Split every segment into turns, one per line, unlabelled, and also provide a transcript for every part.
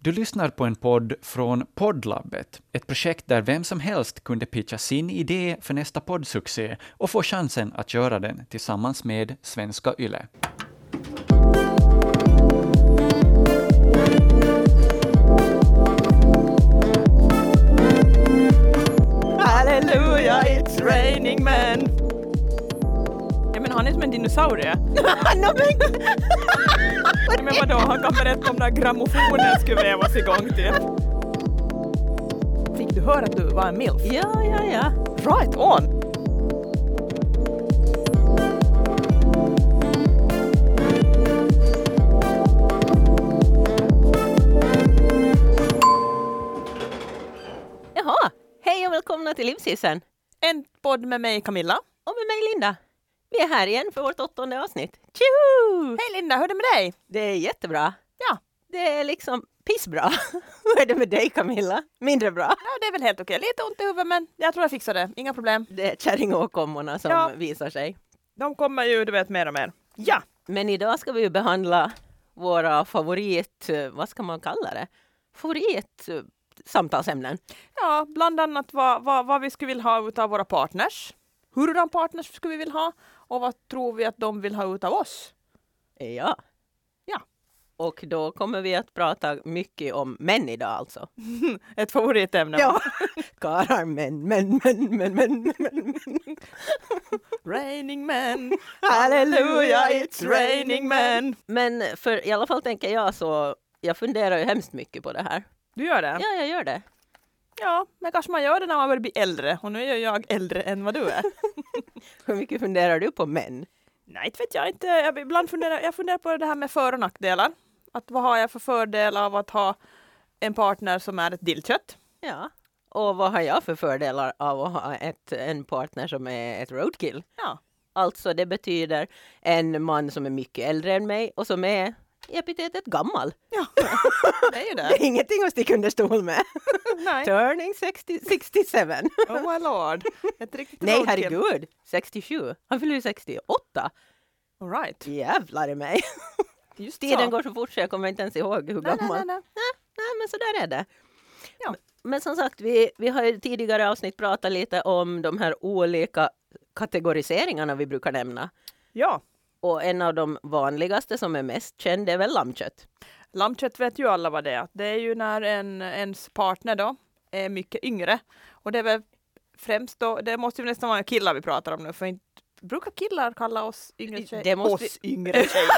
Du lyssnar på en podd från Poddlabbet, ett projekt där vem som helst kunde pitcha sin idé för nästa poddsuccé och få chansen att göra den tillsammans med Svenska Yle.
Halleluja, it's raining men!
Ja, men han är som en dinosaurie.
no, men,
Ja, men vadå, han kan berätta om när grammofonen skulle vävas igång till.
fick du höra att du var en milf?
Ja, ja, ja.
Right on!
Jaha, hej och välkomna till Livsisen. En podd med mig Camilla.
Och med mig Linda. Vi är här igen för vårt åttonde avsnitt. Tjoho!
Hej Linda, hur är det med dig?
Det är jättebra.
Ja.
Det är liksom pissbra. Hur är det med dig Camilla? Mindre bra.
Ja, det är väl helt okej. Lite ont i huvudet men jag tror jag fixar det. Inga problem.
Det är kärringåkommorna som
Ja.
visar sig.
De kommer ju, du vet, mer och mer. Ja,
Men idag ska vi ju behandla våra favorit, eh, vad ska man kalla det? Favorit eh, samtalsämnen.
ja bland annat vad, vad, vad vi skulle vilja ha utav våra partners. Hurdan partners skulle vi vilja ha? Och vad tror vi att de vill ha utav oss?
Eh, Ja.
Ja.
Och då kommer vi att prata mycket om män idag alltså.
Ett favoritämne.
Ja. Karlar, män, män, män, män, män, män, män.
Raining men,
Halleluja,
halleluja, it's raining men.
Men för i alla fall tänker jag så, jag funderar ju hemskt mycket på det här.
Du gör det?
Ja, jag gör det.
Ja, men kanske man gör det när man börjar bli äldre. Och nu är ju jag äldre än vad du är.
Hur mycket funderar du på män?
Nej, inte vet jag inte. Jag, ibland funderar, jag funderar på det här med för och nackdelar. Att vad har jag för fördel av att ha en partner som är ett dillkött?
Ja. Och vad har jag för fördelar av att ha ett, en partner som är ett roadkill?
Ja.
Alltså det betyder en man som är mycket äldre än mig och som är i epitetet gammal.
Ja, det är ju
Det
det.
är ingenting att sticka under stol med.
Nej.
Turning 60, 67.
Oh my lord. Ett riktigt
Nej,
roadkill.
herregud. 67. Han fyller ju 68.
All right.
Jävlar i mig.
Just
Tiden
så.
går så fort så jag kommer inte ens ihåg hur
Nej,
gammal.
nej, nej, nej.
Nej, men så där är det.
Ja.
Men som sagt, vi, vi har ju i tidigare avsnitt pratat lite om de här olika kategoriseringarna vi brukar nämna.
Ja,
Och en av de vanligaste som är mest känd är väl lammkött.
lammkött vet ju alla vad det är. Det är ju när en, ens partner då är mycket yngre. Och det är väl främst då, det måste ju nästan vara killar vi pratar om nu, för inte Brukar killar kalla oss yngre tjejer?
Det måste
Oss yngre tjejer.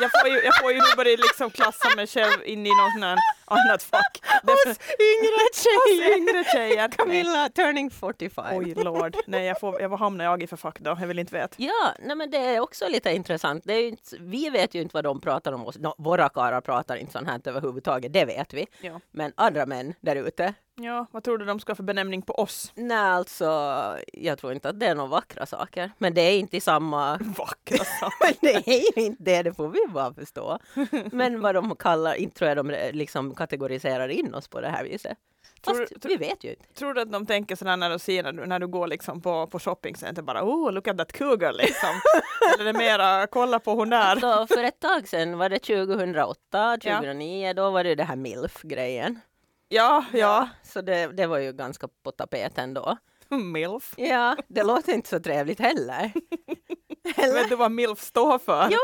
Jag får ju, jag får ju nu börja liksom klassa mig själv in i något sån här annat fack. Därför-
Yngre
Oss yngre tjejer! Nej.
Camilla turning 45.
Oj lord, nej jag får, jag, vad hamnar jag i för fack då? Jag vill inte veta.
Ja, nej men det är också lite intressant. Det är ju inte, vi vet ju inte vad de pratar om oss. Nå, våra karlar pratar inte sånt här överhuvudtaget, det vet vi.
Ja.
Men andra män där ute,
ja, vad tror du de ska ha för benämning på oss?
Nej, alltså, jag tror inte att det är några vackra saker. Men det är inte i samma...
Vackra saker.
Men det är ju inte det, det får vi bara förstå. Men vad de kallar, inte tror jag de re- liksom kategoriserar in oss på det här viset. Fast
Tror du- tror-
vi vet ju inte.
Tror du att de tänker sådär när de ser när du, när du går liksom på, på shoppingcenter bara oh look at that cougar liksom. Eller är det mera kolla på hon där.
Så för ett tag sedan, var det 2008, 2009, då var det ju det här MILF-grejen.
Ja, ja.
Så det, det var ju ganska på tapeten då.
Milf.
Ja, det låter inte så trevligt heller.
Vet du vad milf står för?
Jo,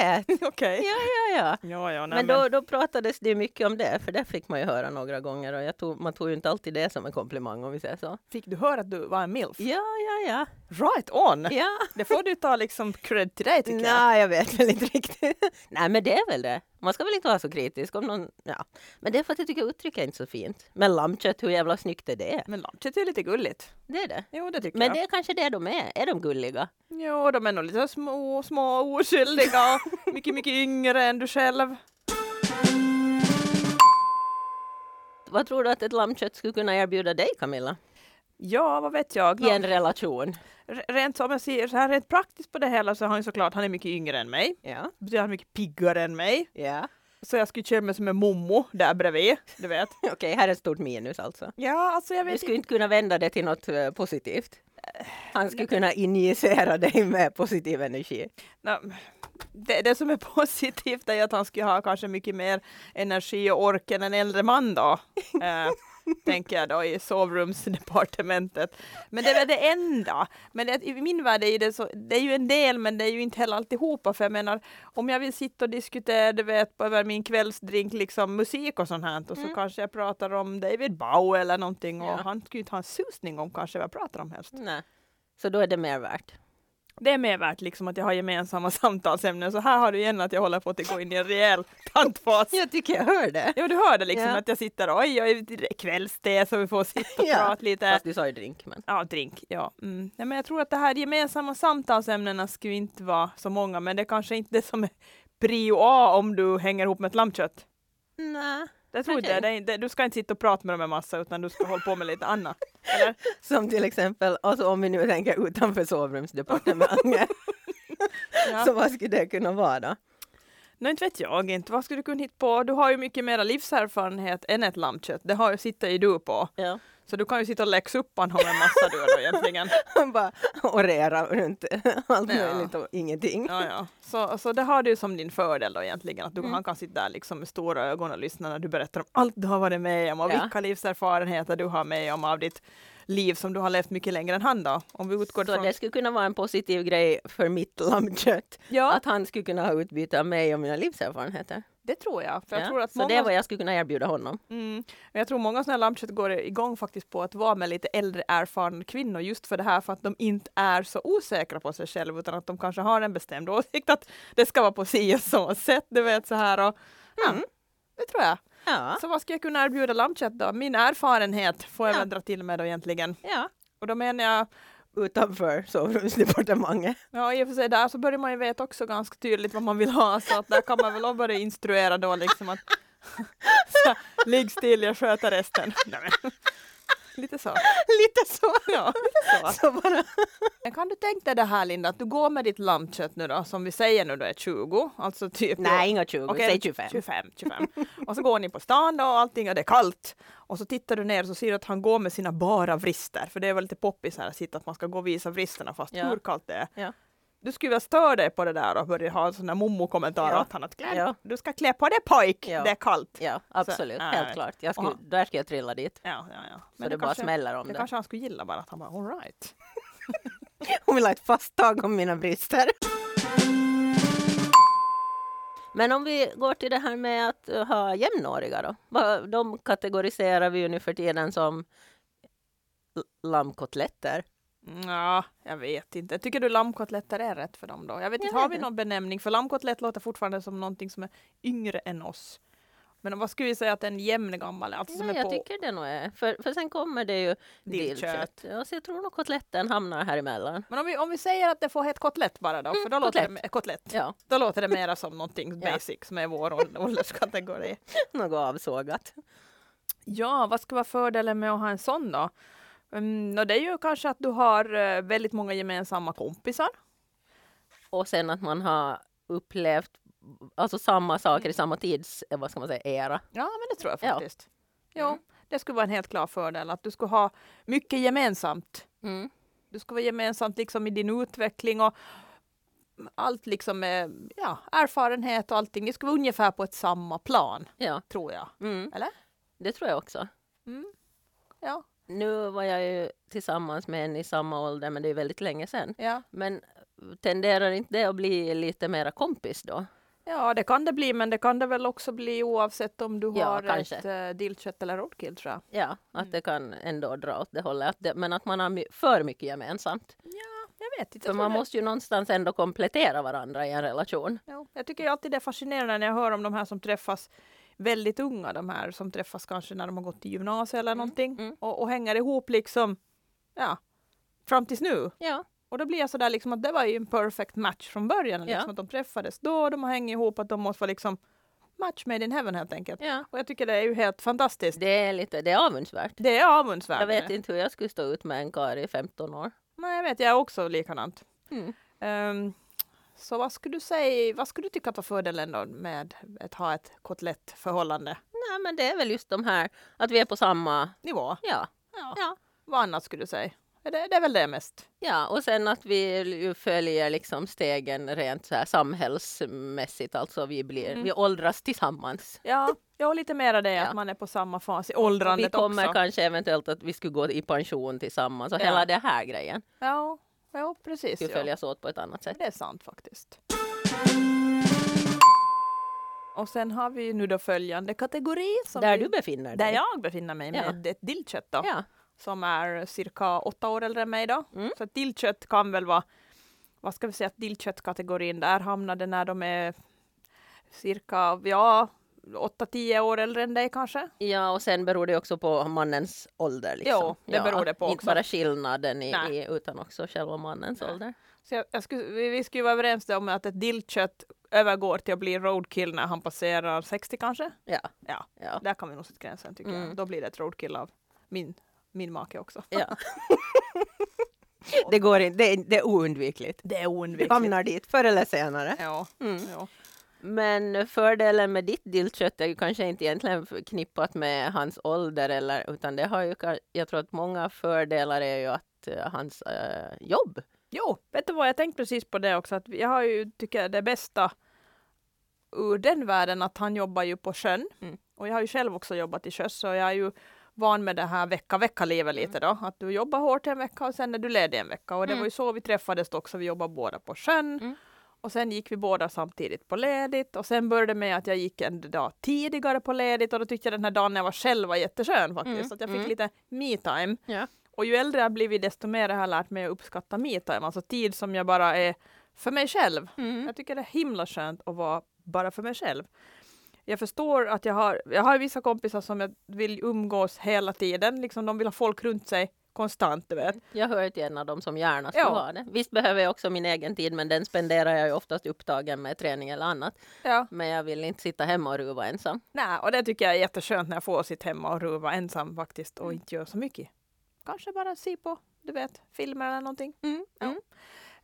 jag vet!
Okej.
Ja, ja, ja.
Ja, ja, nej,
Men då, då pratades det ju mycket om det, för det fick man ju höra några gånger och jag tog, man tog ju inte alltid det som en komplimang om vi säger så.
Fick du höra att du var en milf?
Ja, ja, ja.
Right on!
ja.
Det får du ta liksom cred till dig tycker jag.
Nej, jag vet väl inte riktigt. Nej, men det är väl det. Man ska väl inte vara så kritisk om någon... Ja. Men det är för att jag tycker uttrycket är inte så fint. Men lammkött, hur jävla snyggt är det?
Men lammkött är lite gulligt.
Det är det.
Jo, det tycker
Men
jag.
det är kanske det de är. Är de gulliga?
Jo, de är nog lite små, små oskyldiga. mycket, mycket yngre än du själv.
Vad tror du att ett lammkött skulle kunna erbjuda dig, Camilla?
Ja, vad vet jag.
I en relation?
R- Rent, som jag ser, så här, rent praktiskt på det hela så har han ju såklart, han är mycket yngre än mig.
Ja.
Det betyder han är mycket piggare än mig.
Ja.
Så jag skulle känna mig som en mommo där bredvid, du vet.
Okej, här är ett stort minus alltså.
Ja, alltså jag
Du
vet
skulle
inte.
inte kunna vända det till något eh, positivt. Han skulle kunna injicera dig med positiv energi.
Nå, det, det som är positivt är att han skulle ha kanske mycket mer energi och ork än en äldre man då. Eh, tänker jag då i sovrumsdepartementet. Men det är väl det enda. Men det, i min värld är ju det, så, det är ju en del men det är ju inte heller alltihopa. För jag menar om jag vill sitta och diskutera du vet, på- över min kvällsdrink liksom musik och sånt här. Och så kanske jag pratar om David Bowie eller någonting och
Ja.
han skulle ju inte ha en susning om kanske vad jag pratar om helst.
Nej. Så då är det mer värt.
Det är mer värt liksom att jag har gemensamma samtalsämnen. Så här har du igen att jag håller på att gå in i en rejäl tantfas.
Jag tycker jag hör det.
Ja, du hörde liksom
Ja.
att jag sitter oj, jag är kvällste så vi får sitta och
Ja.
prata lite.
Fast du sa ju drink. Men.
Ja, drink. Ja. Mm. Nej, men jag tror att det här gemensamma samtalsämnena skulle inte vara så många, men det är kanske inte det som är prio A om du hänger ihop med ett lammkött.
Nej.
Jag tror
Okej.
det. det, är inte- du ska inte sitta och prata med dem en massa, utan du ska hålla på med lite annat. Eller?
Som till exempel, alltså om vi nu tänker utanför sovrumsdepartementet.
Ja.
Så vad skulle det kunna vara då?
Nej, inte vet jag inte. Vad skulle du kunna hitta på? Du har ju mycket mera livserfarenhet än ett lammkött. Det har ju, sitter ju du på.
Ja.
Så du kan ju sitta och läxa upp honom en massa du då egentligen.
Bara orera runt allt
Ja.
möjligt och ingenting.
Ja, ja. Så, så det har du som din fördel då egentligen. Att du, Han kan sitta där liksom med stora ögon och lyssna när du berättar om allt du har varit med om och
Ja.
vilka livserfarenheter du har med om av ditt liv som du har levt mycket längre än han då. Om vi utgår
Så
från...
det skulle kunna vara en positiv grej för mitt lammkött.
Ja.
Att han skulle kunna ha utbyte av mig och mina livserfarenheter.
det tror jag. För jag
Ja.
tror att
Så
många
det är vad jag skulle kunna erbjuda honom.
Mm. Men jag tror många sådana här lammkött går igång faktiskt på att vara med lite äldre erfarna kvinnor just för det här för att de inte är så osäkra på sig själva utan att de kanske har en bestämd åsikt att det ska vara på si och så sätt, du vet så här och ja, det tror jag.
Mm. Ja.
Så vad ska jag kunna erbjuda lammkött då? Min erfarenhet får jag
Ja.
väl dra till med då egentligen.
ja.
Och då menar jag,
Utanför sovrumsdepartementet.
ja i och för sig där så börjar man ju veta också ganska tydligt vad man vill ha så att där kan man väl också börja instruera då liksom att så, ligg still, jag sköter resten. Nej, men. Lite så.
Lite så.
Ja, lite så.
så bara.
Men Kan du tänka dig det här Linda, att du går med ditt lammkött nu då, som vi säger nu då är 20, alltså typ
Nej, inga 20.
Okej,
Säg 25.
25, 25. Och så går ni på stan då och allting och det är kallt. Och så tittar du ner och så ser du att han går med sina bara vrister. För det är väl lite poppis här att sitta att man ska gå och visa vristerna fast
Ja.
hur kallt det är.
Ja.
Du skulle väl störa dig på det där och börja ha sådana mommo-kommentarer
Ja.
åt honom. Att klä,
Ja.
Du ska klä på dig pojk,
Ja.
det är kallt.
Ja, absolut.
Så,
Helt
nej.
klart. Jag skulle,
Aha.
där skulle jag trilla dit.
Ja, ja, ja.
Så det, bara smäller om
det
det.
kanske han skulle gilla bara att han bara alright.
Hon vill ha ett fast tag om mina brister. Men om vi går till det här med att eh, ha jämnåriga då. Vad- De kategoriserar vi ju nu för tiden som l- lammkotletter.
Ja, jag vet inte. Tycker du lammkotletter är rätt för dem då? Jag vet
Jag
inte, har
vet
vi
inte.
någon benämning? För lammkotlett låter fortfarande som någonting som är yngre än oss. Men vad skulle vi säga att en jämn gammal är? Alltså som
Nej,
är
jag
på...
tycker det nog är. För, för sen kommer det ju
Dillkött.
dillkött. Ja, så jag tror nog kotletten hamnar här emellan.
Men om vi, om vi säger att det får heta kotlett bara då, för då, låter det,
kotlett.
eh, kotlett.
Ja,
då låter det mera som någonting
Ja.
basic som är vår ål- ålderskategori.
något avsågat.
Ja, vad ska vara fördelen med att ha en sån då? Mm, och det är ju kanske att du har eh, väldigt många gemensamma kompisar.
Och sen att man har upplevt alltså samma saker i samma tids, eh, vad ska man säga, era.
Ja, men det tror jag
Ja. Mm.
faktiskt. Jo, det skulle vara en helt klar fördel att du skulle ha mycket gemensamt. Du ska vara gemensamt liksom i din utveckling och allt liksom med ja, erfarenhet och allting. Ni ska vara ungefär på ett samma plan,
Ja,
tror jag.
mm.
Eller?
det tror jag också.
Ja,
Nu var jag ju tillsammans med en i samma ålder, men det är väldigt länge sedan.
ja.
Men tenderar inte det att bli lite mera kompis då?
ja, det kan det bli, men det kan det väl också bli oavsett om du
Ja,
har
kanske.
ett eh, dillkött eller roadkill, tror jag.
Ja, att det kan ändå dra åt det hållet. Att det, men att man har my- för mycket gemensamt.
Jag vet inte.
För
Jag,
man
man
måste ju någonstans ändå komplettera varandra i en relation.
ja, jag tycker ju alltid det är fascinerande när jag hör om de här som träffas väldigt unga, de här som träffas kanske när de har gått i gymnasiet eller någonting
mm.
Och, och hänger ihop liksom, ja, fram tills nu.
Ja,
Och då blir jag sådär liksom att det var ju en perfect match från början.
Ja.
Liksom att de träffades då, de har hängt ihop, att de måste vara liksom match made in heaven helt enkelt.
ja.
Och jag tycker det är ju helt fantastiskt.
Det är lite, det är avundsvärt.
Det är avundsvärt.
Jag vet inte hur jag skulle stå ut med en karl i 15 år.
Nej, jag vet, jag är också likadant.
Mm.
Ehm, så vad skulle du säga, vad skulle du tycka att var fördelen då med att ha ett kotlettförhållande?
Nej, men det är väl just de här att vi är på samma,
Nivå?
ja,
Ja.
ja.
Vad annat skulle du säga? Det, det är väl det mest.
Ja, och sen att vi ju följer liksom stegen rent så här samhällsmässigt, alltså vi, blir,
Mm.
vi åldras tillsammans.
Ja, jag har lite mera det
Ja.
att man är på samma fas i
Och vi
åldrandet
kommer
också.
kanske eventuellt att vi skulle gå i pension tillsammans och
Ja.
hela den här grejen
Ja, ja precis.
skulle
Ja.
följas åt på ett annat sätt.
Det är sant faktiskt. Och sen har vi nu då följande kategori. Som
Där
vi,
du befinner dig.
där jag befinner mig
Ja.
med ett dillkött då.
Ja.
Som är cirka åtta år äldre än mig då.
Mm.
Så ett dillkött kan väl vara, vad ska vi säga, att dillköttkategorin där hamnade när de är cirka, ja, åtta, tio år äldre än dig kanske.
ja, och sen beror det också på mannens ålder. Liksom.
Jo, det beror det på
Inte
också.
bara skillnaden i,
Nej.
i, utan också själva mannens
Nej.
ålder.
Så jag, jag skulle, vi, vi skulle vara överens då om att ett dillkött övergår till att bli roadkill när han passerar 60 kanske.
Ja.
Ja.
ja.
Där kan vi nog sätta gränsen tycker
Mm.
jag. Då blir det ett roadkill av min, min make också.
ja. det går inte, det är, det är oundvikligt.
Det är
Du
oundvikligt.
hamnar dit förr eller senare.
Ja,
Mm.
ja.
Men fördelen med ditt dillkött är ju kanske inte egentligen förknippat med hans ålder, eller, utan det har ju, ka- jag tror att många fördelar är ju att eh, hans eh, jobb.
Jo, vet du vad, jag tänkte precis på det också. Att jag har ju, tycker jag, det bästa ur den världen att han jobbar ju på sjön.
Mm.
Och jag har ju själv också jobbat i sjö, så jag är ju van med det här vecka-vecka-livet lite då. Att du jobbar hårt en vecka och sen är du ledig en vecka. Och det
Mm.
var ju så vi träffades också, vi jobbade båda på sjön.
Mm.
Och sen gick vi båda samtidigt på ledigt. Och sen började det med att jag gick en dag tidigare på ledigt och då tyckte jag den här dagen när jag var själv var jätteskön faktiskt.
Mm,
Att jag fick
mm.
lite me-time.
Ja.
Och ju äldre jag har blivit desto mer har jag lärt mig att uppskatta me-time, alltså tid som jag bara är för mig själv.
Mm.
Jag tycker det är himla skönt att vara bara för mig själv. Jag förstår att jag har, jag har vissa kompisar som jag vill umgås hela tiden, liksom de vill ha folk runt sig konstant, du vet.
Jag hör till en av dem som gärna skulle
Ja.
ha det. Visst behöver jag också min egen tid, men den spenderar jag ju oftast upptagen med träning eller annat.
Ja.
Men jag vill inte sitta hemma och ruva ensam.
Nej, och det tycker jag är jätteskönt när jag får sitta hemma och ruva ensam faktiskt och inte göra så mycket. Kanske bara se på, du vet, filmer eller någonting. Ja.
mm.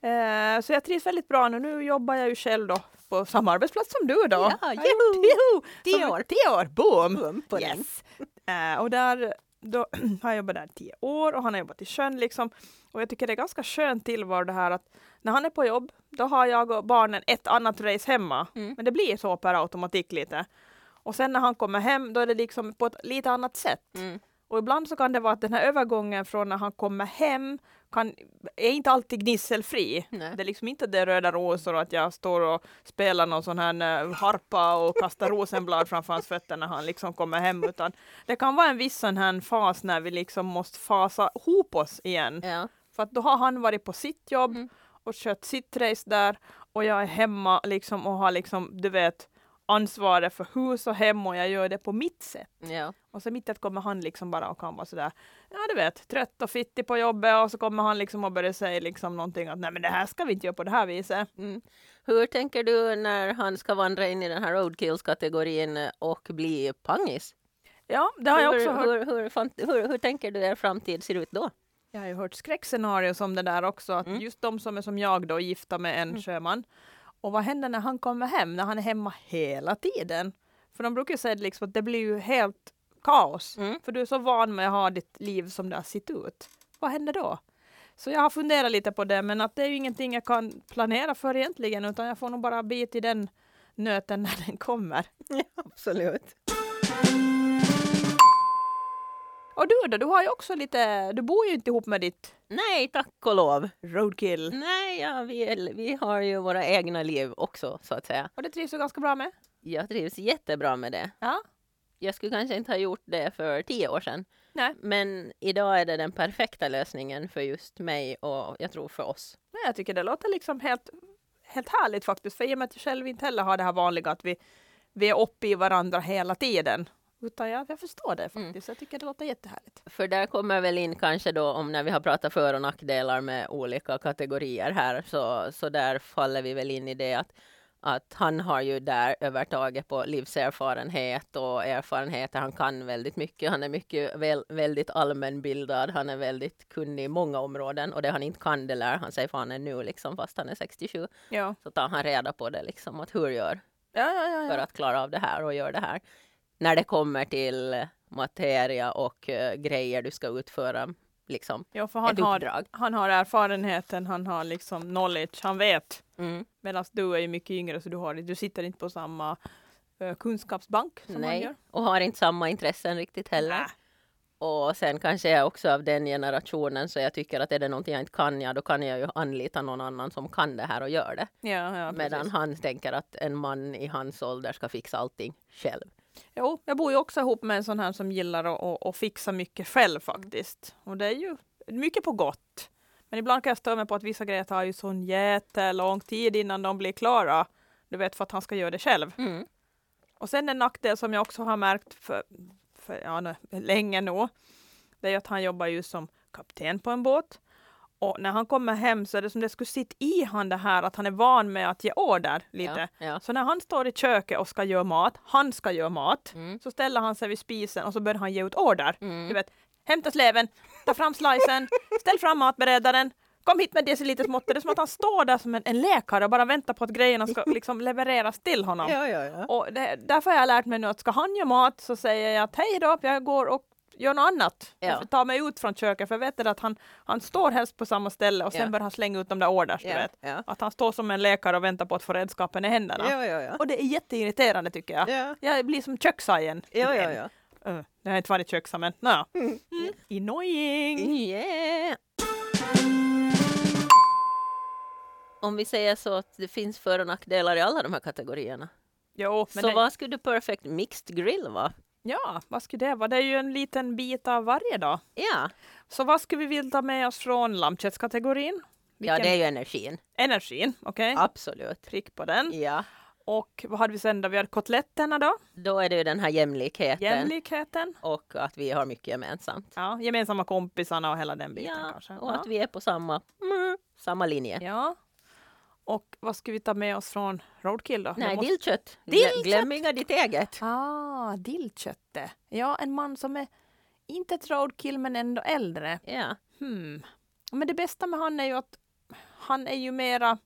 Eh, så jag trivs väldigt bra nu. Nu jobbar jag ju själv då på samma arbetsplats som du då.
Ja,
Hej,
juhu!
juhu!
Tio
Som-
år.
Tio år, boom!
Pum på den.
yes! Eh, och där då, har jag jobbat där tio år och han har jobbat i sjön liksom. Och jag tycker det är ganska skönt tillvaro det här att när han är på jobb, då har jag och barnen ett annat race hemma.
Mm.
Men det blir så per automatik lite. Och sen när han kommer hem, då är det liksom på ett lite annat sätt.
Mm.
Och ibland så kan det vara att den här övergången från när han kommer hem kan, är inte alltid gnisselfri.
Nej.
Det är liksom inte det röda rosor och att jag står och spelar någon sån här eh, harpa och kastar rosenblad framför hans fötter när han liksom kommer hem. Utan det kan vara en viss sån här fas när vi liksom måste fasa ihop oss igen.
Ja.
För att då har han varit på sitt jobb och kört sitt race där och jag är hemma liksom och har liksom, du vet, ansvaret för hus och hem och jag gör det på mitt sätt.
Ja.
Och så mitt i att kommer han liksom bara och kan vara sådär, ja du vet, trött och fittig på jobbet och så kommer han liksom och börjar säga liksom någonting att nej men det här ska vi inte göra på det här viset.
Mm. Hur tänker du när han ska vandra in i den här roadkills-kategorin och bli pangis?
Ja, det har jag
hur,
också hört.
hur, hur, fan- hur, hur tänker du er framtid ser ut då?
Jag har ju hört skräckscenarier som det där också, att
Mm.
just de som är som jag då, gifta med en sjöman. Och vad händer när han kommer hem, när han är hemma hela tiden? För de brukar ju säga det liksom att det blir ju helt kaos,
Mm.
för du är så van med att ha ditt liv som det har sett ut. Vad händer då? Så jag har funderat lite på det, men att det är ju ingenting jag kan planera för egentligen, utan jag får nog bara bita i den nöten när den kommer.
Absolut.
Och du då, du har ju också lite, du bor ju inte ihop med ditt
Nej, tack och lov.
Mm. roadkill.
Nej, ja, vi, vi har ju våra egna liv också, så att säga.
Och det trivs du ganska bra med?
Jag trivs jättebra med det.
Ja.
Jag skulle kanske inte ha gjort det för tio år sedan.
Nej.
Men idag är det den perfekta lösningen för just mig och jag tror för oss.
Nej, jag tycker det låter liksom helt, helt härligt faktiskt. För i och med att jag själv inte heller har det här vanliga att vi, vi är uppe i varandra hela tiden. Utan jag, jag förstår det
Mm.
faktiskt. Jag tycker det låter jättehärligt.
För där kommer väl in kanske då om när vi har pratat för och nackdelar med olika kategorier här, så, så där faller vi väl in i det att, att han har ju där övertaget på livserfarenhet och erfarenheter. Han kan väldigt mycket. Han är mycket väl, väldigt allmänbildad. Han är väldigt kunnig i många områden och det han inte kan, det lär han sig fan ännu liksom, fast han är 67.
Ja,
Så tar han reda på det liksom, att hur gör
ja, ja. ja,
för
ja.
att klara av det här och gör det här. När det kommer till materia och eh, grejer du eh, ska utföra liksom,
Ja, för
ett
han har,
uppdrag.
han har erfarenheten, han har liksom knowledge, han vet.
Mm.
Medan du är ju mycket yngre så du, har, du sitter inte på samma eh, kunskapsbank som han
Nej,
gör.
och har inte samma intressen riktigt heller.
Nä.
Och sen kanske jag också av den generationen så jag tycker att är det någonting jag inte kan, ja då kan jag ju anlita någon annan som kan det här och gör det.
Ja, ja,
Medan
precis.
han tänker att en man i hans ålder ska fixa allting själv.
Jo, jag bor ju också ihop med en sån här som gillar att, att, att fixa mycket själv faktiskt. Och det är ju mycket på gott. Men ibland kan jag störa mig på att vissa grejer tar ju sån jättelång tid innan de blir klara. Du vet, för att han ska göra det själv.
Mm.
Och sen en nackdel som jag också har märkt för, för ja, nu- länge nu, det är ju att han jobbar ju som kapten på en båt. Och när han kommer hem så är det som det skulle sitta i han det här att han är van med att ge order lite.
Ja, ja.
Så när han står i köket och ska göra mat, han ska göra mat,
Mm.
så ställer han sig vid spisen och så börjar han ge ut order.
Mm.
Du vet, hämta sleven, ta fram slicen, ställ fram matberedaren, kom hit med decilitersmåttet. Det är som att han står där som en, en läkare och bara väntar på att grejerna ska liksom levereras till honom.
Ja, ja, ja.
Och det, därför har jag lärt mig nu att ska han göra mat så säger jag att hej då, jag går och gör något annat.
Ja.
Jag tar mig ut från köket för jag vet att han, han står helst på samma ställe och sen
Ja.
börjar han slänga ut de där orders, du
Ja,
vet.
ja.
Att han står som en läkare och väntar på att få redskapen i händerna.
Ja, ja, ja.
Och det är jätteirriterande tycker jag.
Ja,
Jag blir som köksajen.
ja, ja. ja.
Uh, jag har inte varit köksa men no. mm. Annoying!
Mm. Yeah. Om vi säger så att det finns för och nackdelar i alla de här kategorierna.
Jo, men
så
det,
vad skulle Perfect Mixed Grill vara?
ja, vad skulle det vara? Det är ju en liten bit av varje dag.
Ja,
Så vad skulle vi vilja ta med oss från lammköttskategorin?
ja
Vilken-
det är ju energin.
Energin, okej?
Absolut.
Prick på den.
Ja.
Och vad hade vi sen då? Vi hade kotletterna då,
Då är det ju den här jämlikheten
jämlikheten.
och att vi har mycket gemensamt.
Ja, gemensamma kompisarna och hela den biten
Ja,
kanske.
och
ja.
att vi är på samma, mm, samma linje.
ja. Och vad ska vi ta med oss från Roadkill då?
Nej,
Jag måste-
dillkött. Glö-
Dillkött!
Glöm inga ditt eget.
Ah, dillkötte. Ja, en man som är inte ett roadkill men ändå äldre.
Ja.
Hmm. Men det bästa med han är ju att han är ju mera...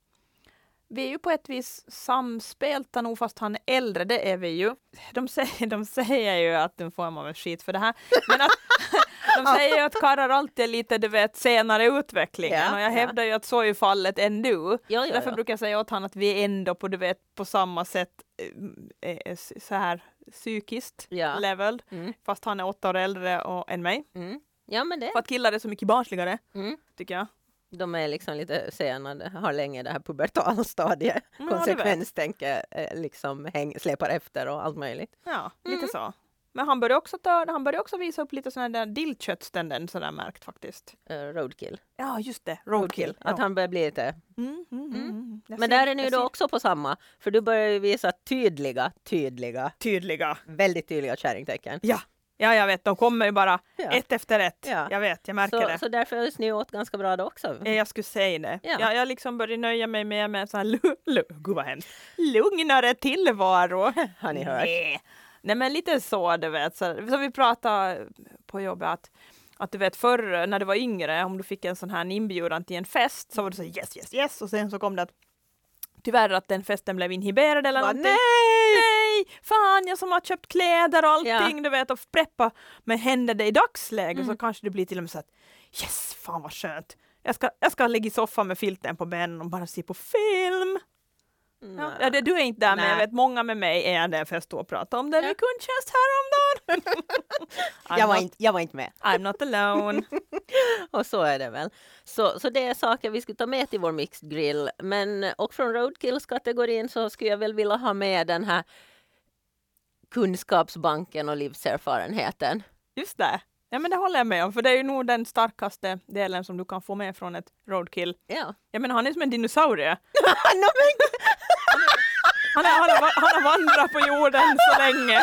Vi är ju på ett vis samspelta nog fast han är äldre, det är vi ju. De säger, de säger ju att, nu får man väl skit för det här, men att de säger ju att karlar alltid är lite, du vet, senare i utvecklingen
Ja,
och
ja.
jag hävdar ju att så är ju fallet ändå.
Ja,
Så
ja,
Därför
ja.
brukar jag säga åt honom att vi är ändå på, du vet, på samma sätt eh, eh, så här psykiskt
Ja.
leveled,
Mm.
fast han är åtta år äldre och, än mig.
Mm. ja, men det.
För att killar är så mycket barnsligare,
Mm.
tycker jag.
De är liksom lite senare, har länge det här pubertala stadiet.
Ja, du vet.
Konsekvenstänke, eh, liksom häng, släpar efter och allt möjligt.
Ja, lite
Mm.
så. Men han började också, ta, han började också visa upp lite sådana där dillköttstendenser där märkt faktiskt.
Eh, roadkill.
Ja, just det. Roadkill.
Att han börjar bli lite...
ja. mm, mm, mm. mm. Jag
Men
ser-
där är ni ju
jag
då
ser
också på samma. För du börjar ju visa tydliga, tydliga,
Tydliga.
väldigt tydliga kärringtecken.
Ja. ja, jag vet. De kommer ju bara
Ja.
ett efter ett.
Ja.
Jag vet, jag märker
Så,
det.
så därför hörs ni åt ganska bra då också.
Eh, Jag skulle säga det.
Ja.
Jag, jag liksom började nöja mig med, med så här, lu, lu, gud vad hemskt, lugnare tillvaro.
Har ni hört?
Nej. Nej men lite så du vet, så, som vi pratade på jobbet att, att du vet förr när du var yngre, om du fick en sån här inbjudan till en fest så var du så här, yes yes yes och sen så kom det att tyvärr att den festen blev inhiberad eller
Bara,
någonting. Nej! Fan jag som har köpt kläder och allting du vet och preppa. Men händer det i dagsläget
Mm.
så kanske det blir till och med så att yes fan vad skönt. Jag ska, jag ska ligga i soffan med filten på benen och bara se på film.
Mm.
Ja, ja, det, du är inte där, men jag
Nej.
vet många med mig är där för jag står och pratar om det
Ja.
vid kundtjänst häromdagen. I'm,
jag, var
not,
inte, jag var inte med.
I'm not alone.
Och så är det väl. Så, så det är saker vi skulle ta med till vår mixed grill. Men, och från roadkills-kategorin så skulle jag väl vilja ha med den här kunskapsbanken och livserfarenheten.
Just det. Ja, men det håller jag med om, för det är ju nog den starkaste delen som du kan få med från ett roadkill.
Ja.
Jag menar, han är som en dinosaurie.
Ah,
Han, är, han, har, va- han har vandrat på jorden så länge.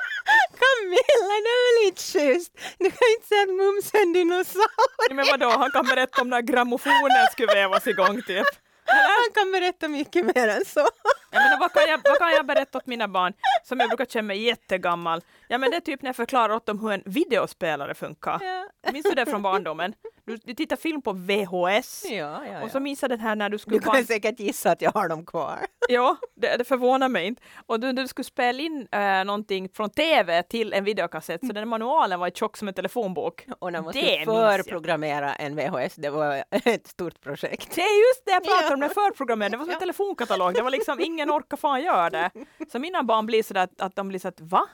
Camilla, det är väl inte schysst? Du kan inte säga att Mums är en dinosaurie.
Men vadå, han kan berätta om när grammofonen skulle vävas igång typ.
Han kan berätta mycket mer än så.
Jag menar, vad, kan jag, vad kan jag berätta åt mina barn som jag brukar känna mig jättegammal? Ja, men det är typ när jag förklarar åt dem hur en videospelare funkar.
Ja.
Minns du det från barndomen? Du, du tittar film på VHS.
Ja, ja,
Och så
ja.
minns jag den här när du skulle...
Du kommer
band-
säkert gissa att jag har dem kvar.
Ja, det, det förvånar mig inte. Och du, du skulle spela in äh, någonting från TV till en videokassett,
Mm.
så den manualen var tjock som en telefonbok.
Och när man
Det
skulle
minns jag.
förprogrammera en VHS, det var ett stort projekt.
Det är just det jag pratar
Ja.
om, den förprogrammerade. Det var som en
Ja.
telefonkatalog. Det var liksom ingen orkar fan göra det. Så mina barn blir sådär att, att de blir så att va?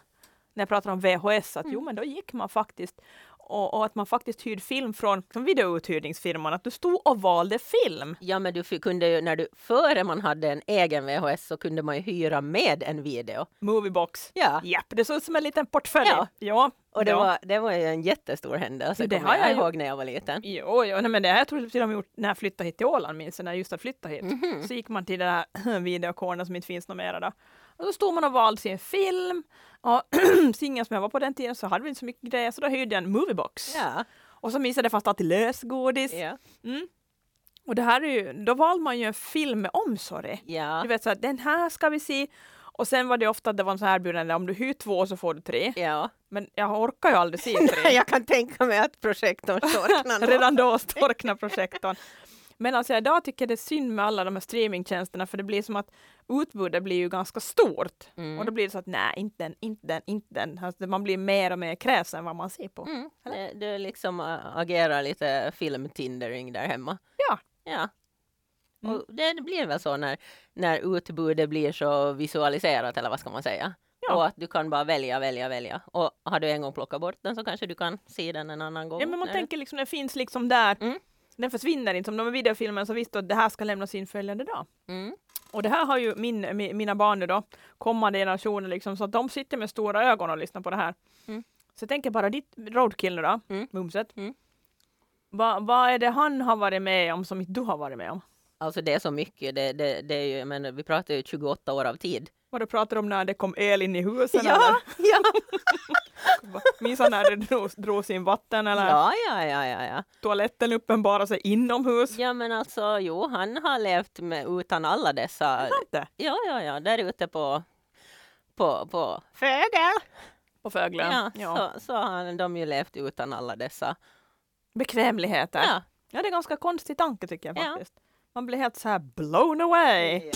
När jag pratar om VHS, att
Mm.
jo men då gick man faktiskt och, och att man faktiskt hyrde film från, från videouthyrningsfirman, att du stod och valde film.
Ja, men du fick- kunde ju, när du, före man hade en egen VHS så kunde man ju hyra med en video.
Moviebox.
Ja,
Japp, det såg ut som en liten portfölj.
Ja.
ja.
och det,
ja.
var, det var ju en jättestor händelse,
Jo, det
kommer
har
jag
jag ju-
ihåg när jag var liten.
Jo, jo nej, men det här tror jag till och med gjort när jag flyttade hit till Åland, minns jag, när jag just hade flyttat hit.
Mhm.
Så gick man till den här videokornen som inte finns någon mera då. Och så stod man och valde sin film. Och singeln som jag var på den tiden så hade vi inte så mycket grejer, så då hyrde jag en moviebox.
Ja,
Och så minns jag det fanns alltid lösgodis.
ja,
Och det här är ju, då valde man ju en film med omsorg.
ja.
Du vet så här, den här ska vi se. Och sen var det ofta att det var en sån här erbjudande, om du hyr två så får du tre.
ja.
Men jag orkar ju aldrig se tre.
Jag kan tänka mig att projektorn storknade.
Redan då storknar projektorn. Men alltså idag tycker jag det är synd med alla de här streamingtjänsterna för det blir som att utbudet blir ju ganska stort. Och då blir det så att nej, inte den, inte den, inte den. Alltså, man blir mer och mer kräsen vad man ser på.
Mm. eh, Du liksom äh, agerar lite filmtindering där hemma.
Ja.
Ja.
Mm.
Och det det blir väl så när, när utbudet blir så visualiserat eller vad ska man säga.
Ja.
Och att du kan bara välja, välja, välja. Och har du en gång plockat bort den så kanske du kan se den en annan gång.
Ja, men man
när du-
tänker liksom, den finns liksom där.
Mm.
Den försvinner inte. Som de här videofilmerna så visste du att det här ska lämnas in följande dag.
Mm.
Och det här har ju min, mi- mina barn nu då, kommande generationer liksom, så att de sitter med stora ögon och lyssnar på det här.
Mm.
Så jag tänker bara ditt roadkill nu då,
Mm.
Mumset.
Mm.
Va- Vad är det han har varit med om som inte du har varit med om?
Alltså det är så mycket. Det, det, det är ju, men vi pratar ju 28 år av tid.
Vad du pratar om när det kom el in i husen?
ja.
eller? Minns han när det drog, drogs in vatten eller
ja, ja, ja, ja, ja.
toaletten uppenbarade sig inomhus?
Ja, men alltså jo, han har levt med, utan alla dessa
Inte.
Ja, ja, ja, där ute på, på, på Fögel.
På Föglön.
Ja,
Ja.
Så, så har de ju levt utan alla dessa.
Bekvämligheter.
Ja.
Ja, det är en ganska konstig tanke tycker jag
Ja.
faktiskt. Man blir helt så här blown away.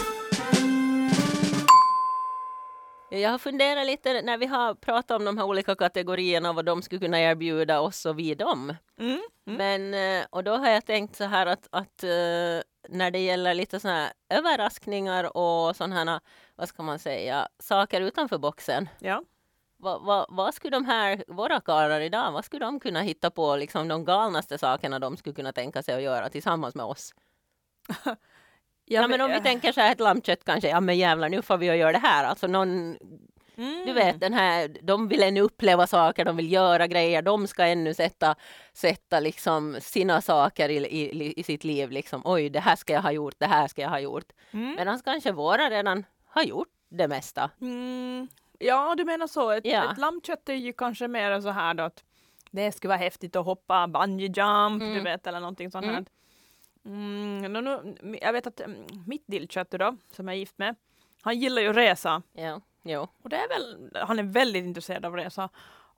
Jag har funderat lite när vi har pratat om de här olika kategorierna vad de skulle kunna erbjuda oss och vi dem.
Mm. Mm.
Men, eh, och då har jag tänkt så här att, att eh, när det gäller lite sådana här överraskningar och sådana här, vad ska man säga, saker utanför boxen.
Ja.
Vad, vad, vad skulle de här, våra karlar idag, vad skulle de kunna hitta på, liksom de galnaste sakerna de skulle kunna tänka sig att göra tillsammans med oss? Ja, men om vi tänker så här ett lammkött kanske, ja men jävlar nu får vi ju göra det här, alltså någon,
Mm.
du vet den här, de vill ännu uppleva saker, de vill göra grejer, de ska ännu sätta, sätta liksom sina saker i, i, i sitt liv, liksom oj det här ska jag ha gjort, det här ska jag ha gjort.
Mm.
Medan kanske våra redan har gjort det mesta.
Mm. Ja, du menar så. Ett,
Ja.
ett lammkött är ju kanske mer så här då att det skulle vara häftigt att hoppa bungee jump, du
Mm.
vet, eller någonting sånt
Mm.
här. Mm, no, no, jag vet att mm, mitt dillkött då, som jag är gift med, han gillar ju att resa.
Ja, jo.
Och det är väl, han är väldigt intresserad av resa.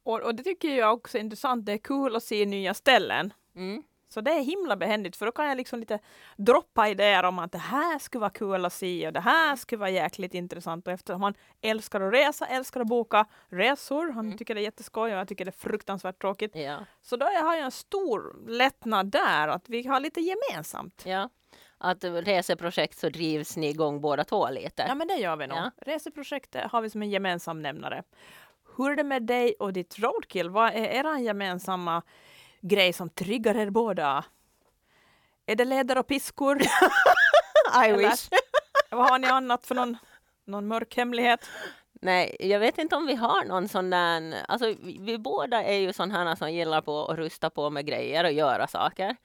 Och, och det tycker jag också är intressant. Det är kul att se nya ställen.
Mm.
Så det är himla behändigt för då kan jag liksom lite droppa idéer om att det här skulle vara kul att se och det här skulle vara jäkligt intressant och eftersom han älskar att resa, älskar att boka resor, han tycker det är jätteskoj och jag tycker det är fruktansvärt tråkigt.
Ja.
Så då har jag en stor lättnad där att vi har lite gemensamt.
Ja, att eh, reseprojekt så drivs ni igång båda två lite.
Ja men det gör vi nog.
Ja.
Reseprojektet har vi som en gemensam nämnare. Hur är det med dig och ditt roadkill? Vad är er gemensamma grej som triggar er båda? Är det leder och piskor?
I
Eller- Vad har ni annat för någon, någon mörk hemlighet?
Nej, jag vet inte om vi har någon sån där, alltså vi, vi båda är ju sådana här som gillar på att rusta på med grejer och göra saker.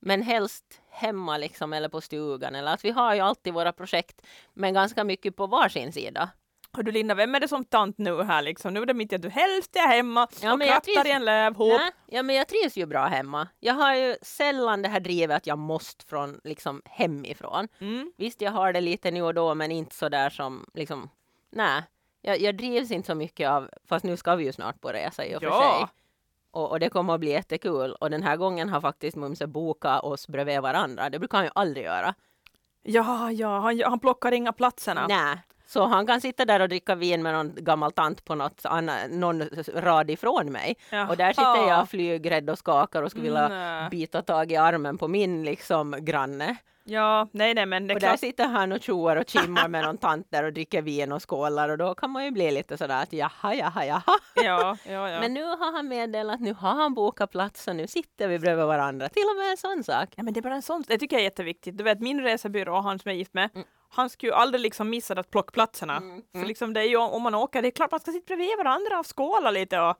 Men helst hemma liksom eller på stugan eller att vi har ju alltid våra projekt men ganska mycket på varsin sida.
Hör du Linda, vem är det som tant nu här liksom? Nu är det mitt i att du helst är hemma
Ja,
och
men jag
krattar i
trivs-
en lövhop.
Nej, ja, men jag trivs ju bra hemma. Jag har ju sällan det här drivet att jag måste från liksom hemifrån.
Mm.
Visst, jag har det lite nu och då, men inte så där som liksom. Nej, jag, jag drivs inte så mycket av. Fast nu ska vi ju snart på resa i och för
Ja.
sig. Och, och det kommer att bli jättekul. Och den här gången har faktiskt Mumse bokat oss bredvid varandra. Det brukar han ju aldrig göra.
Ja, ja, han, han plockar inga platserna.
Nej. Så han kan sitta där och dricka vin med någon gammal tant på något annan, någon rad ifrån mig.
Jaha.
Och där sitter jag flygrädd och skakar och skulle vilja
Nej.
bita tag i armen på min liksom granne.
Ja, nej, nej, men det är
och där
klart.
sitter han och tjoar och kimmar med någon tant där och dricker vin och skålar och då kan man ju bli lite sådär att jaha, jaha, jaha.
Ja, ja, ja.
Men nu har han meddelat, nu har han bokat plats och nu sitter vi bredvid varandra. Till och med en sån sak.
Ja, men det är bara en sån, det tycker jag är jätteviktigt. Du vet min resebyrå, han som jag är gift med,
Mm.
han skulle ju aldrig liksom missa att plocka platserna. För liksom det är ju, om man åker, det är klart man ska sitta bredvid varandra och skåla lite och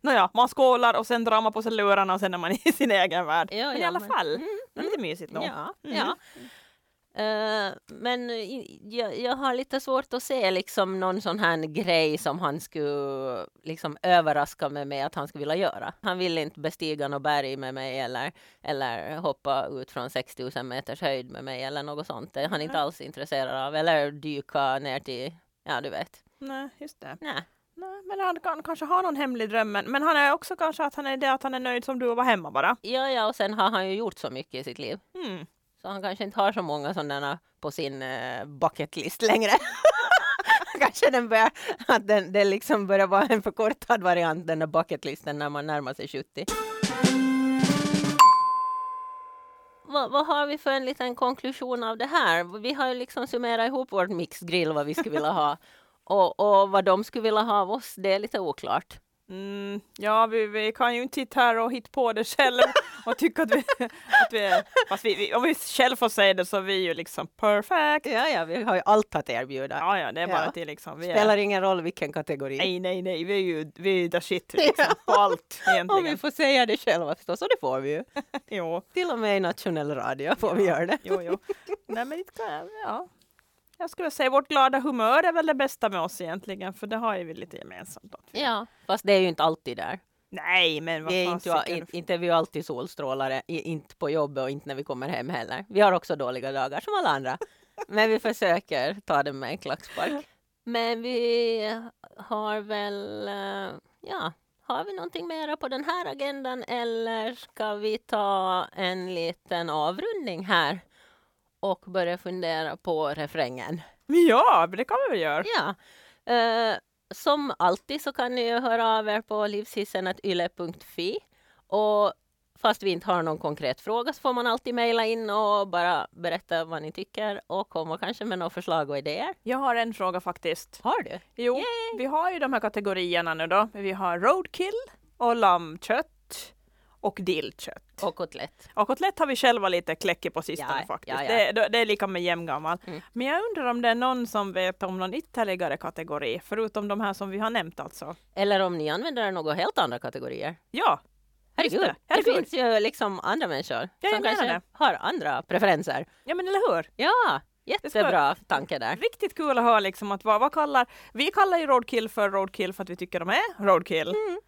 Nåja, man skålar och sen drar man på sig lurarna och sen är man i sin egen värld.
Ja,
men i
ja,
alla
men- Mm,
fall, det är lite mysigt Mm. nog.
Ja, ja. Eh, men i- jag, jag har lite svårt att se liksom någon sån här grej som han skulle liksom överraska mig med att han skulle vilja göra. Han vill inte bestiga något berg med mig eller, eller hoppa ut från 6000 meters höjd med mig eller något sånt. Det är han inte alls intresserad av. Eller dyka ner till, ja du vet.
Nej, just det.
Nej.
Nej, men han kan, kanske har någon hemlig dröm, men men han är också kanske att han är det att han är nöjd som du och var hemma bara.
Ja, ja, och sen har han ju gjort så mycket i sitt liv.
Mm.
Så han kanske inte har så många sådana på sin eh, bucket list längre. kanske den börjar, att den, det liksom börjar vara en förkortad variant, den där bucket listen, när man närmar sig 70. Vad, vad har vi för en liten konklusion av det här? Vi har ju liksom summerat ihop vårt mixgrill, vad vi skulle vilja ha. Och, och vad de skulle vilja ha av oss, det är lite oklart.
Mm, ja, vi, vi kan ju inte sitta här och hitta på det själv och tycka att vi, att vi är... Fast vi, vi, om vi själv får säga det så är vi ju liksom perfect.
Ja, ja, vi har ju allt att erbjuda.
Ja, ja, det är bara
Ja.
till liksom... Vi är,
Spelar ingen roll vilken kategori.
nej, nej, nej, vi är ju vi är ju the shit liksom, på allt
Om vi
egentligen.
får säga det själva förstås, och det får vi ju.
Jo,
Till och med i nationell radio får vi göra det.
jo, jo. Nej, men det kan, ja. Jag skulle säga vårt glada humör är väl det bästa med oss egentligen, för det har ju vi lite gemensamt. Att vi,
Ja, fast det är ju inte alltid där.
Nej, men vad
Det är inte,
fasiken.
in, inte är vi alltid solstrålare, i, inte på jobbet och inte när vi kommer hem heller. Vi har också dåliga dagar som alla andra. Men vi försöker ta det med en klackspark. Men vi har väl, eh, ja, har vi någonting mera på den här agendan eller ska vi ta en liten avrundning här och börja fundera på refrängen?
Ja, men det kan vi väl göra.
Ja. Eh, som alltid så kan ni ju höra av er på livshissen.yle.fi. Och fast vi inte har någon konkret fråga så får man alltid mejla in och bara berätta vad ni tycker och komma kanske med några förslag och idéer.
Jag har en fråga faktiskt.
Har du?
Jo, vi har ju de här kategorierna nu då. Vi har roadkill och lammkött och dillkött.
Och kotlett.
Och kotlett har vi själva lite kläckig på sistone
Ja,
faktiskt.
ja, ja.
Det, är- det är lika med jämngammal.
Mm.
Men jag undrar om det är någon som vet om någon ytterligare kategori, förutom de här som vi har nämnt alltså.
Eller om ni använder några helt andra kategorier.
Ja, Just
Herregud,
det.
det,
Herregud.
finns ju liksom andra människor
jag
som
menar
kanske
det.
har andra preferenser.
ja men eller hur?
Ja,
ska-
jättebra tanke där.
Riktigt kul att höra liksom att vad, vad kallar, vi kallar ju roadkill för roadkill för att vi tycker de är roadkill.
Mm.
Äh,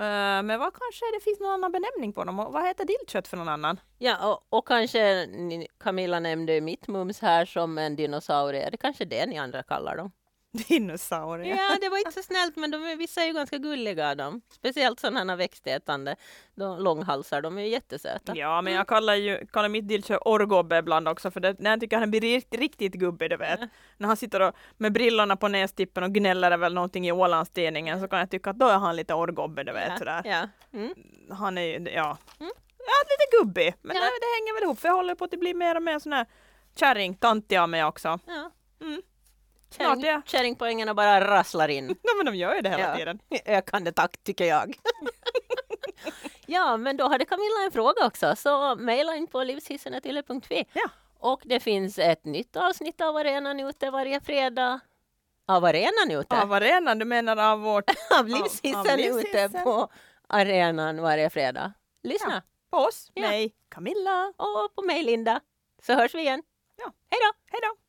Men, men vad kanske det finns någon annan benämning på dem? Och Vad heter dillkött för någon annan?
Ja, och, och kanske ni, Camilla nämnde ju mitt mums här som en dinosaurie. Det kanske är det ni andra kallar dem.
Dinosaurie.
Ja, det var inte så snällt, men de är, vissa är ju ganska gulliga de. Speciellt sådana här växtätande de, långhalsar, de är ju jättesöta.
Ja, men jag kallar ju kallar mitt dillkö orrgubbe ibland också för det, när jag tycker han blir rikt, riktigt gubbig, du
Mm.
vet. När han sitter och, med brillorna på nästippen och gnäller över någonting i Ålandstidningen så kan jag tycka att då är han lite orrgubbe, du vet. Sådär.
Ja. Mm.
Han är ju, ja. ja, lite gubbig. Men
Ja.
det, det hänger väl ihop för jag håller på att bli mer och mer sån här kärring, tantig av mig också.
ja.
Mm. Snart är
Kärring,
jag-
kärringpoängerna bara rasslar in.
Ja, men de gör ju det hela
Ja.
tiden.
I ökande takt tycker jag. ja, men då hade Camilla en fråga också, så mejla in på livshissen.ylle.fi.
Ja.
Och det finns ett nytt avsnitt av Arenan ute varje fredag. Av Arenan ute?
Av arenan, du menar av vårt,
Av Livshissen
av Livshissen.
ute på Arenan varje fredag. Lyssna!
på oss,
Ja.
mig, Camilla.
Och på mig Linda. Så hörs vi igen.
Ja.
Hej då!
Hej då!